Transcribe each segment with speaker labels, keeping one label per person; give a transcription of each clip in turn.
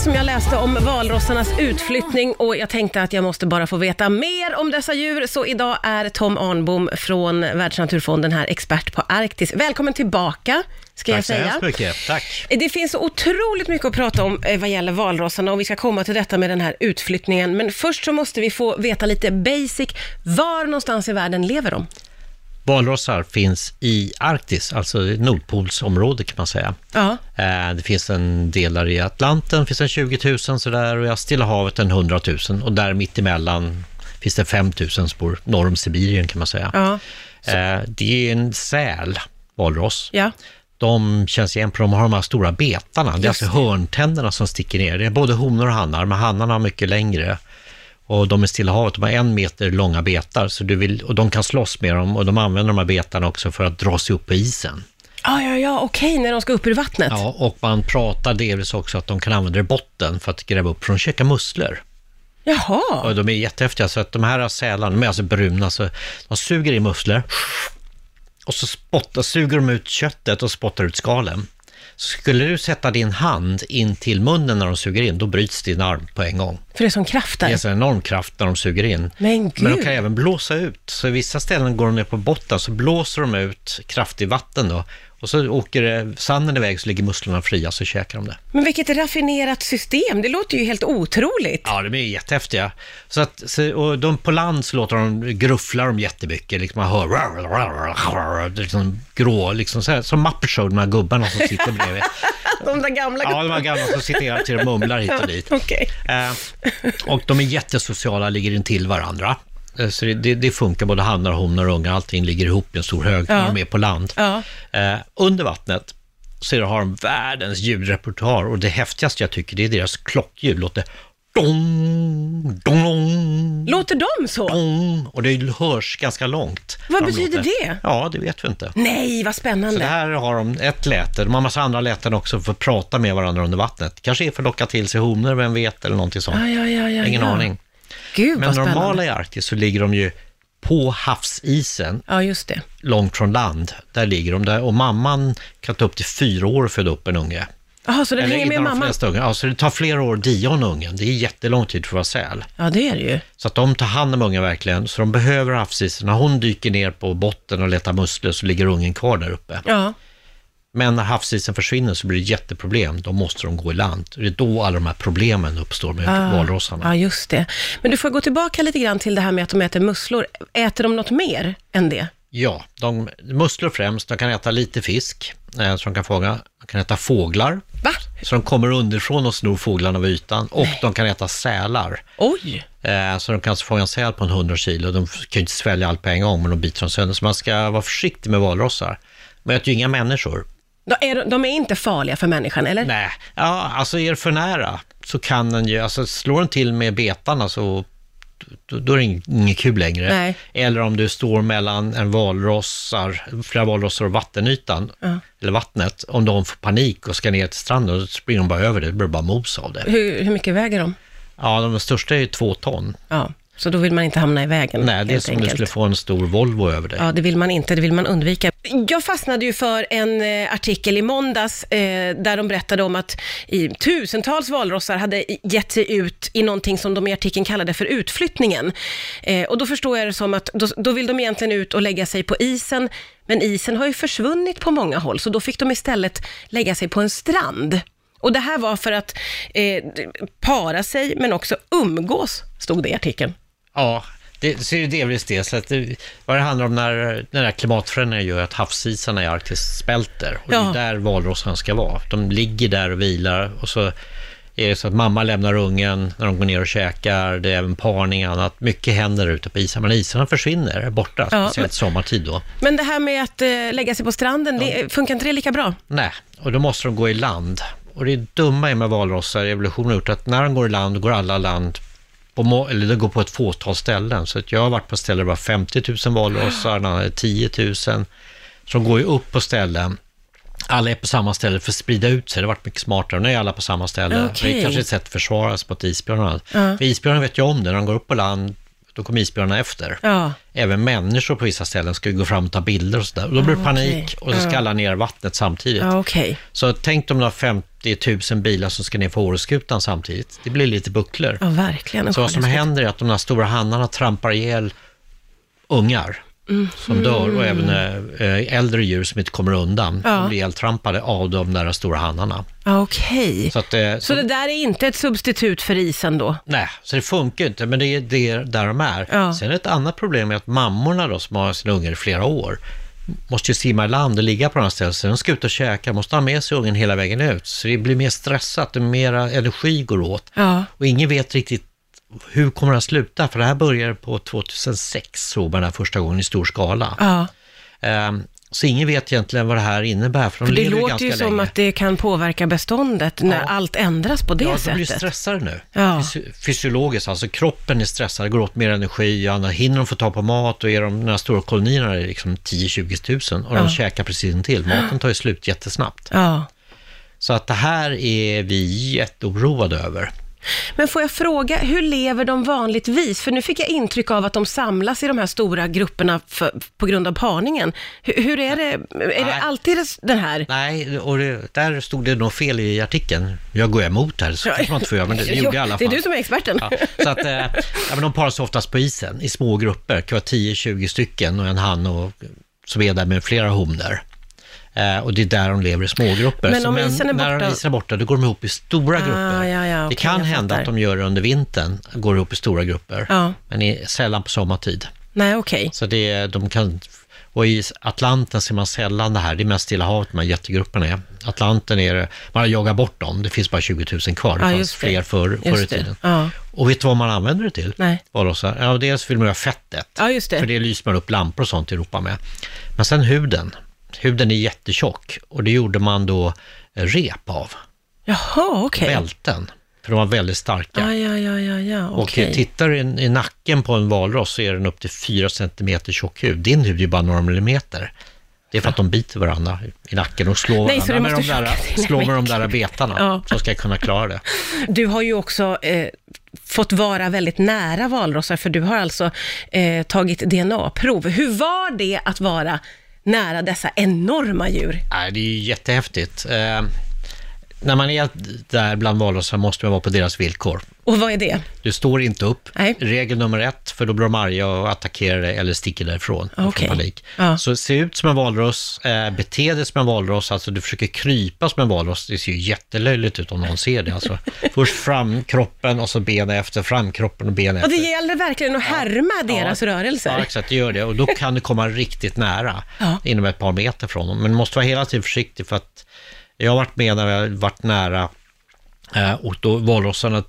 Speaker 1: som jag läste om valrossarnas utflyttning och jag tänkte att jag måste bara få veta mer om dessa djur. Så idag är Tom Arnbom från Världsnaturfonden här, expert på Arktis. Välkommen tillbaka, ska jag
Speaker 2: Tack så
Speaker 1: säga.
Speaker 2: hemskt mycket. Tack.
Speaker 1: Det finns så otroligt mycket att prata om eh, vad gäller valrossarna och vi ska komma till detta med den här utflyttningen. Men först så måste vi få veta lite basic. Var någonstans i världen lever de?
Speaker 2: Valrossar finns i Arktis, alltså i Nordpolsområdet kan man säga.
Speaker 1: Ja.
Speaker 2: Eh, Det finns en del där i Atlanten, finns en 20 000 sådär, och i Stilla havet en 100 000. Och där mittemellan finns det 5 000 spår, norr om Sibirien kan man säga.
Speaker 1: Ja.
Speaker 2: Eh, Det är en säl, valross.
Speaker 1: Ja.
Speaker 2: De känns igen på, de har de här stora betarna. Det är
Speaker 1: Just
Speaker 2: alltså hörntänderna som sticker ner. Det är både honor och hannar, men hannarna har mycket längre. Och de är Stilla havet, de har en meter långa betar. Så du vill, och de kan slåss med dem och de använder de här betarna också för att dra sig upp på isen.
Speaker 1: Ja, ja, ja, okej, när de ska upp ur vattnet.
Speaker 2: Ja, och man pratar delvis också att de kan använda det i botten för att gräva upp från käka musslor.
Speaker 1: Jaha.
Speaker 2: Och de är jättehäftiga, så att de här sälarna, de är alltså bruna, så de suger i musslor och så spottar, suger de ut köttet och spottar ut skalen. Skulle du sätta din hand in till munnen när de suger in, då bryts din arm på en gång.
Speaker 1: För det är sån kraft där.
Speaker 2: Det är alltså en enorm kraft när de suger in.
Speaker 1: Men gud.
Speaker 2: Men de kan även blåsa ut, så i vissa ställen går de ner på botten, så blåser de ut kraftigt vatten då. Och så åker det- sanden iväg, så ligger musslorna fria, så käkar de det.
Speaker 1: Men vilket raffinerat system, det låter ju helt otroligt.
Speaker 2: Ja, de är jättehäftiga. Så att, så, och de på land så låter de, grufflar de jättemycket. Liksom man hör liksom, grå, liksom, så här, som Muppet Show, de här gubbarna som sitter bredvid.
Speaker 1: De där gamla
Speaker 2: Ja, de här gamla som sitter hela tiden och mumlar hit och dit.
Speaker 1: Okej.
Speaker 2: Eh, och de är jättesociala, ligger intill varandra. Eh, Så det, det, det funkar, både hannar, honor och ungar, allting ligger ihop i en stor hög
Speaker 1: Ja.
Speaker 2: när de är på land.
Speaker 1: Ja.
Speaker 2: Eh, under vattnet så är det- har de världens ljudrepertoar och det häftigaste jag tycker det är deras klockljud. Låter dong, dong, dong,
Speaker 1: Låter de så?
Speaker 2: dong och det hörs ganska långt.
Speaker 1: Vad
Speaker 2: när de
Speaker 1: betyder det?
Speaker 2: Ja, det vet vi inte.
Speaker 1: Nej, vad
Speaker 2: Så det
Speaker 1: spännande.
Speaker 2: här har de ett läte, de har massa andra läten också för att prata med varandra under vattnet. Kanske är för att locka till sig honor, vem vet, eller någonting sånt.
Speaker 1: Ja, ja, ja, ja,
Speaker 2: Ingen
Speaker 1: Ah, ja.
Speaker 2: aning.
Speaker 1: Gud,
Speaker 2: Men
Speaker 1: vad spännande.
Speaker 2: normala i Arktis så ligger de ju på havsisen,
Speaker 1: Ja, just det.
Speaker 2: långt från land. Där ligger de där och mamman kan ta upp till fyra år och föda upp en unge.
Speaker 1: Jaha, så den hänger med
Speaker 2: innan de
Speaker 1: mamman?
Speaker 2: flesta ungar. Ja, så det tar flera år att dion ungen. Det är jättelång tid för att vara säl.
Speaker 1: Ja, det är det ju.
Speaker 2: Så att de tar hand om ungen verkligen, så de behöver havsisen. När hon dyker ner på botten och letar musslor så ligger ungen kvar där uppe.
Speaker 1: Ja.
Speaker 2: Men när havsisen försvinner så blir det jätteproblem. Då måste de gå i land. Det är då alla de här problemen uppstår med
Speaker 1: Ah.
Speaker 2: valrossarna.
Speaker 1: ja, just det. Men du får gå tillbaka lite grann till det här med att de äter musslor. Äter de något mer än det?
Speaker 2: Ja, de, musslor främst. De kan äta lite fisk eh, som de kan fånga. De kan äta fåglar,
Speaker 1: Va?
Speaker 2: så de kommer underifrån och snor fåglarna vid ytan. Och de kan äta sälar,
Speaker 1: Oj!
Speaker 2: eh, så de kan alltså fånga en säl på en 100 kilo. De kan ju inte svälja allt på en gång, men de biter dem sönder. Så man ska vara försiktig med valrossar. De äter ju inga människor.
Speaker 1: De är, de- de är inte farliga för människan, eller?
Speaker 2: Nej, ja, alltså är det för nära så kan den ju, alltså slår den till med betarna så då, då är det ing- inget kul längre.
Speaker 1: Nej.
Speaker 2: Eller om du står mellan en valrossar, flera valrossar och vattenytan, eller vattnet, om de får panik och ska ner till stranden, då springer de bara över det, då blir det bara mos av det.
Speaker 1: Hur, hur mycket väger de?
Speaker 2: Ja, de största är ju två ton.
Speaker 1: Ja, så då vill man inte hamna i vägen.
Speaker 2: Nej, det är
Speaker 1: Mm, helt
Speaker 2: som om du
Speaker 1: enkelt.
Speaker 2: skulle få en stor Volvo över dig.
Speaker 1: Ja, det vill man inte, det vill man undvika. Jag fastnade ju för en eh, artikel i måndags eh, där de berättade om att i, tusentals valrossar hade i- gett sig ut i någonting som de i artikeln kallade för utflyttningen. Eh, och då förstår jag det som att då, då vill de egentligen ut och lägga sig på isen, men isen har ju försvunnit på många håll, så då fick de istället lägga sig på en strand. Och det här var för att eh, para sig, men också umgås, stod det i artikeln.
Speaker 2: Ja, det så är ju delvis det. Så att det vad det handlar om när den här klimatförändringen gör att havsisarna i Arktis spälter. Och
Speaker 1: Ja.
Speaker 2: det är där valrossarna ska vara. De ligger där och vilar och så är det så att mamma lämnar ungen när de går ner och käkar. Det är även parning och annat. Mycket händer ute på isarna. Men isarna försvinner, är borta.
Speaker 1: Ja,
Speaker 2: speciellt sommartid då.
Speaker 1: Men det här med att eh, lägga sig på stranden, det, funkar inte det lika bra?
Speaker 2: Nej, och då måste de gå i land. Och det dumma är med valrossar, evolutionen har gjort att när de går i land, går alla i land på, må- eller det går på ett fåtal ställen. Så att jag har varit på ställen där det var 50 000 valrossar, en annan är 10 000. Så de går ju upp på ställen. Alla är på samma ställe för att sprida ut sig. Det har varit mycket smartare. Nu är alla på samma ställe.
Speaker 1: Okej.
Speaker 2: Det är kanske ett sätt att försvara sig mot isbjörnarna. För isbjörnarna vet ju om det. När de går upp på land då kom isbjörnarna efter.
Speaker 1: Ja.
Speaker 2: Även människor på vissa ställen skulle gå fram och ta bilder och sådär. Och då blir det
Speaker 1: Ah, okej.
Speaker 2: panik och så
Speaker 1: Ja.
Speaker 2: skallar ner vattnet samtidigt.
Speaker 1: Ja, okej.
Speaker 2: Så tänk om du har 50 000 bilar som ska ner för Åreskutan samtidigt. Det blir lite bucklor.
Speaker 1: Ja, verkligen.
Speaker 2: Så vad som
Speaker 1: Skärgårdsbåt.
Speaker 2: händer är att de här stora hannarna trampar ihjäl ungar
Speaker 1: Mm.
Speaker 2: som dör och även eh, äldre djur som inte kommer undan.
Speaker 1: Ja.
Speaker 2: De blir ihjältrampade av de där stora hannarna.
Speaker 1: Ja, okej.
Speaker 2: Så, att, eh, så,
Speaker 1: Så det där är inte ett substitut för isen då?
Speaker 2: nej, så det funkar ju inte, men det är det är där de är.
Speaker 1: Ja.
Speaker 2: Sen ett annat problem är att mammorna då, som har sina ungar i flera år, måste ju simma i land och ligga på några ställen, så de ska ut och käka, måste ha med sig ungen hela vägen ut. Så det blir mer stressat, och mera energi går åt.
Speaker 1: Ja.
Speaker 2: Och ingen vet riktigt hur kommer det att sluta, för det här började på 2006, såg man det här första gången i stor skala.
Speaker 1: ja.
Speaker 2: Ehm, så ingen vet egentligen vad det här innebär, för de
Speaker 1: För det
Speaker 2: lever ju
Speaker 1: låter
Speaker 2: ganska
Speaker 1: ju som
Speaker 2: länge.
Speaker 1: att det kan påverka beståndet när
Speaker 2: Ja.
Speaker 1: allt ändras på det
Speaker 2: Ja, de blir ju
Speaker 1: sättet.
Speaker 2: stressade nu.
Speaker 1: Ja.
Speaker 2: Fysi- Fysiologiskt, alltså kroppen är stressad, går åt mer energi, och annars hinner de få ta på mat och är de, de här stora kolonierna är liksom 10-20 000 och
Speaker 1: Ja.
Speaker 2: de käkar precis intill. Maten tar ju slut jättesnabbt.
Speaker 1: Ja.
Speaker 2: Så att det här är vi jätteoroade över.
Speaker 1: Men får jag fråga, hur lever de vanligtvis? För nu fick jag intryck av att de samlas i de här stora grupperna för, på grund av parningen. Hur, hur är det? Är det
Speaker 2: Nej.
Speaker 1: alltid det- den här?
Speaker 2: Nej, och det, där stod det nog fel i artikeln. Jag går emot här, så kanske man inte får göra, men det, det gjorde jag i alla
Speaker 1: Det
Speaker 2: fall.
Speaker 1: är du som är experten.
Speaker 2: Ja, så att, eh, ja, men de paras oftast på isen i små grupper, det kan vara 10-20 stycken och en han och, som är där med flera honor. Eh, och det är där de lever i smågrupper.
Speaker 1: Men om
Speaker 2: så,
Speaker 1: isen är
Speaker 2: när
Speaker 1: borta-
Speaker 2: isen är borta, då går de ihop i stora
Speaker 1: Ah,
Speaker 2: grupper.
Speaker 1: ja, ja,
Speaker 2: det
Speaker 1: okej,
Speaker 2: kan
Speaker 1: jag
Speaker 2: hända
Speaker 1: fattar.
Speaker 2: att de gör det under vintern, går ihop i stora grupper.
Speaker 1: Ja.
Speaker 2: Men i, sällan på sommartid.
Speaker 1: Nej, okej.
Speaker 2: Så det, de kan, och i Atlanten ser man sällan det här, det är mest Stilla havet de här jättegrupperna är. Atlanten är det, man har jagat bort dem, det finns bara 20 000 kvar, det
Speaker 1: Ja,
Speaker 2: fanns
Speaker 1: just det.
Speaker 2: fler förr,
Speaker 1: Just
Speaker 2: förr
Speaker 1: det,
Speaker 2: i tiden.
Speaker 1: ja.
Speaker 2: Och vet du vad man använder det till?
Speaker 1: Nej.
Speaker 2: Valrossar? Ja, dels vill man göra fettet,
Speaker 1: Ja, just det.
Speaker 2: för det lyser man upp lampor och sånt i Europa med. Men sen huden, huden är jättetjock och det gjorde man då eh, rep av,
Speaker 1: Jaha, okej.
Speaker 2: bälten, för de var väldigt starka.
Speaker 1: Ja, ja, ja, ja, ja.
Speaker 2: Och
Speaker 1: Ah, okej.
Speaker 2: tittar du i, i nacken på en valross så är den upp till 4 cm tjock hud. Din hud är ju bara några millimeter. Det är för att de biter varandra i nacken och slår
Speaker 1: Nej, så
Speaker 2: varandra
Speaker 1: du
Speaker 2: med de,
Speaker 1: måste
Speaker 2: där,
Speaker 1: försöka-
Speaker 2: slår med de där betarna
Speaker 1: Ja.
Speaker 2: som ska kunna klara det.
Speaker 1: Du har ju också eh, fått vara väldigt nära valrossar, för du har alltså eh, tagit DNA-prov. Hur var det att vara nära dessa enorma djur?
Speaker 2: Nej, det är ju jättehäftigt. Eh, när man är där bland valrossar måste man vara på deras villkor.
Speaker 1: Och vad är det?
Speaker 2: Du står inte upp.
Speaker 1: Nej.
Speaker 2: Regel nummer ett, för då blir de arga och attackerar dig eller sticker därifrån. och
Speaker 1: Okej.
Speaker 2: Får panik.
Speaker 1: Ja.
Speaker 2: Så se ut som en valross, eh, bete dig som en valross, alltså du försöker krypa som en valross. Det ser ju jättelöjligt ut om någon ser det. Alltså, först fram kroppen och så benen efter, fram kroppen och benen
Speaker 1: Och det
Speaker 2: efter.
Speaker 1: gäller verkligen att härma deras
Speaker 2: Ja,
Speaker 1: rörelser.
Speaker 2: exakt, det gör det. Och då kan du komma riktigt nära,
Speaker 1: Ja.
Speaker 2: inom ett par meter från dem. Men du måste vara hela tiden försiktig för att jag har varit med när jag har varit nära eh, och då valrossarna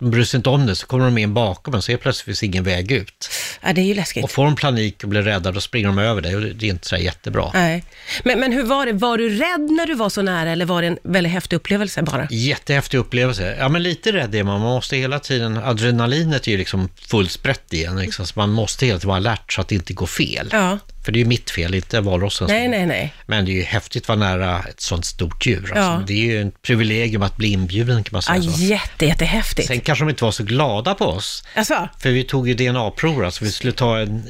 Speaker 2: de bryr sig inte om det, så kommer de in bakom en så är plötsligt finns ingen väg ut.
Speaker 1: Ja, det är ju läskigt.
Speaker 2: Och får de panik och blir rädda, då springer de över dig och det är inte så här jättebra.
Speaker 1: Nej. Men, men hur var det? Var du rädd när du var så nära eller var det en väldigt häftig upplevelse bara?
Speaker 2: Jättehäftig upplevelse. Ja, men lite rädd är man. Man måste hela tiden, adrenalinet är ju liksom fullt sprätt igen, liksom, så man måste hela tiden vara alert så att det inte går fel.
Speaker 1: Ja.
Speaker 2: För det är ju mitt fel, inte valrossens.
Speaker 1: Nej, nej, nej.
Speaker 2: Men det är ju häftigt att vara nära ett sånt stort djur. Alltså,
Speaker 1: Ja.
Speaker 2: Det är ju ett privilegium att bli inbjuden kan man
Speaker 1: Ja,
Speaker 2: säga. så.
Speaker 1: jätte, jättehäftigt.
Speaker 2: Sen kanske de inte var så glada på oss,
Speaker 1: Alltså,
Speaker 2: för vi tog ju DNA-prover, alltså vi skulle ta en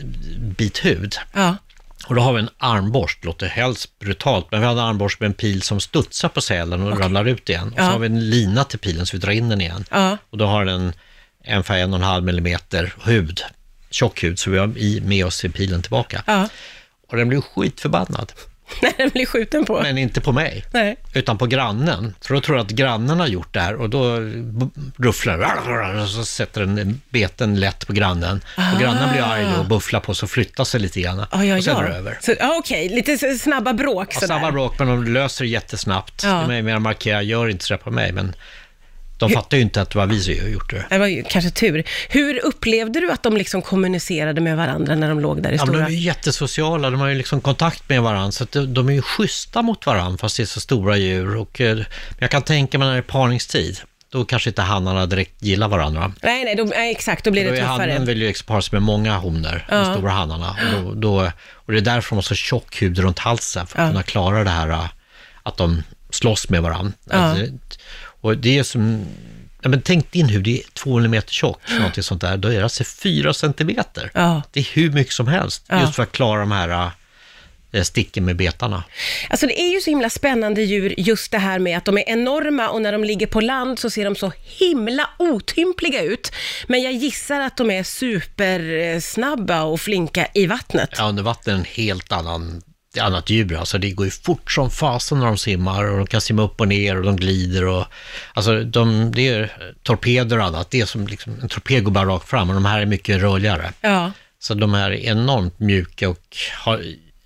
Speaker 2: bit hud.
Speaker 1: ja.
Speaker 2: Och då har vi en armborst, låter helst brutalt, men vi hade en armborst med en pil som studsar på sälen och ramlar ut igen. Och
Speaker 1: Ja.
Speaker 2: så har vi en lina till pilen så vi drar in den igen.
Speaker 1: Ja.
Speaker 2: Och då har den ungefär en och en halv millimeter hud, tjock hud, så vi har i, med oss i pilen tillbaka.
Speaker 1: ja.
Speaker 2: Och den blev skitförbannad,
Speaker 1: När den blir skjuten på.
Speaker 2: men inte på mig.
Speaker 1: Nej.
Speaker 2: utan på grannen. För då tror jag att grannen har gjort det här och då b- rufflar det och så sätter den beten lätt på grannen. Och grannen blir arg då och bufflar på så flyttar sig lite grann.
Speaker 1: Ah. Ja, ja,
Speaker 2: och sen
Speaker 1: ja.
Speaker 2: är det över.
Speaker 1: Så, ja, okej, lite s- snabba bråk
Speaker 2: Ja,
Speaker 1: sådär.
Speaker 2: samma bråk, men de löser det jättesnabbt.
Speaker 1: Ja.
Speaker 2: Det är mer att markera, gör inte sådär på mig, men de fattar ju inte att det var vi som gjort det.
Speaker 1: Det var ju kanske tur. Hur upplevde du att de liksom kommunicerade med varandra när de låg där i
Speaker 2: Ja, men de
Speaker 1: stora...
Speaker 2: är ju jättesociala, de har ju liksom kontakt med varandra, så att de, de är ju schyssta mot varandra fast det är så stora djur. Och, eh, men jag kan tänka mig när det är parningstid, då kanske inte hannarna direkt gillar varandra.
Speaker 1: Nej, nej, de, nej, exakt, då blir
Speaker 2: Då
Speaker 1: det
Speaker 2: är hannen
Speaker 1: tuffare.
Speaker 2: vill ju liksom para sig med många honor, de stora hannarna. Och, då, då, och det är därför de har så tjock hud runt halsen, för att kunna klara det här äh, att de slåss med varandra. Alltså, och det är som Ja, men tänk din hud, är 200 meter tjock, någonting sånt där. Då är det alltså 4 centimeter.
Speaker 1: Ja.
Speaker 2: Det är hur mycket som helst,
Speaker 1: Ja.
Speaker 2: just för att klara de här eh, sticken med betarna.
Speaker 1: Alltså det är ju så himla spännande djur just det här med att de är enorma och när de ligger på land så ser de så himla otympliga ut. Men jag gissar att de är supersnabba och flinka i vattnet.
Speaker 2: Ja, under vatten är en helt annan ett annat djur, alltså det går ju fort som fasen när de simmar och de kan simma upp och ner och de glider och alltså de, det är torpeder och annat, det är som liksom, en torped går bara rakt fram och de här är mycket rörligare.
Speaker 1: Ja.
Speaker 2: Så de här är enormt mjuka och har,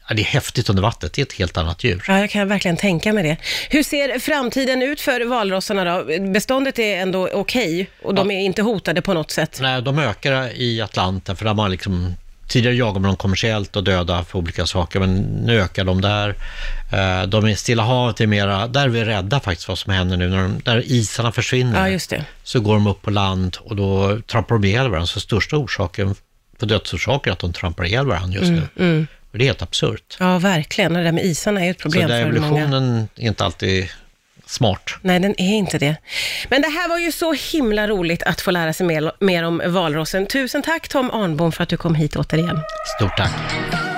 Speaker 2: ja, det är häftigt under vattnet, det är ett helt annat djur.
Speaker 1: Ja, jag kan verkligen tänka mig det. Hur ser framtiden ut för valrossarna då? Beståndet är ändå okej och de är inte hotade på något sätt.
Speaker 2: Nej, de ökar i Atlanten, för där man liksom, tidigare jagade man dem kommersiellt och döda för olika saker, men nu ökar de där. Eh, De i Stilla havet är mera, där är vi rädda faktiskt vad som händer nu, när de, där isarna försvinner.
Speaker 1: Ja, just det.
Speaker 2: Så går de upp på land och då trampar de ihjäl varandra, så största orsaken på dödsorsaker är att de trampar ihjäl varandra just
Speaker 1: Mm,
Speaker 2: nu. Och det är helt absurt.
Speaker 1: Ja, verkligen. Och det där med isarna är ju ett
Speaker 2: Så
Speaker 1: problem
Speaker 2: där
Speaker 1: för många.
Speaker 2: evolutionen är inte alltid smart.
Speaker 1: Nej, den är inte det. Men det här var ju så himla roligt att få lära sig mer, mer om valrossen. Tusen tack Tom Arnbom för att du kom hit återigen.
Speaker 2: Stort tack.
Speaker 3: Valrossen,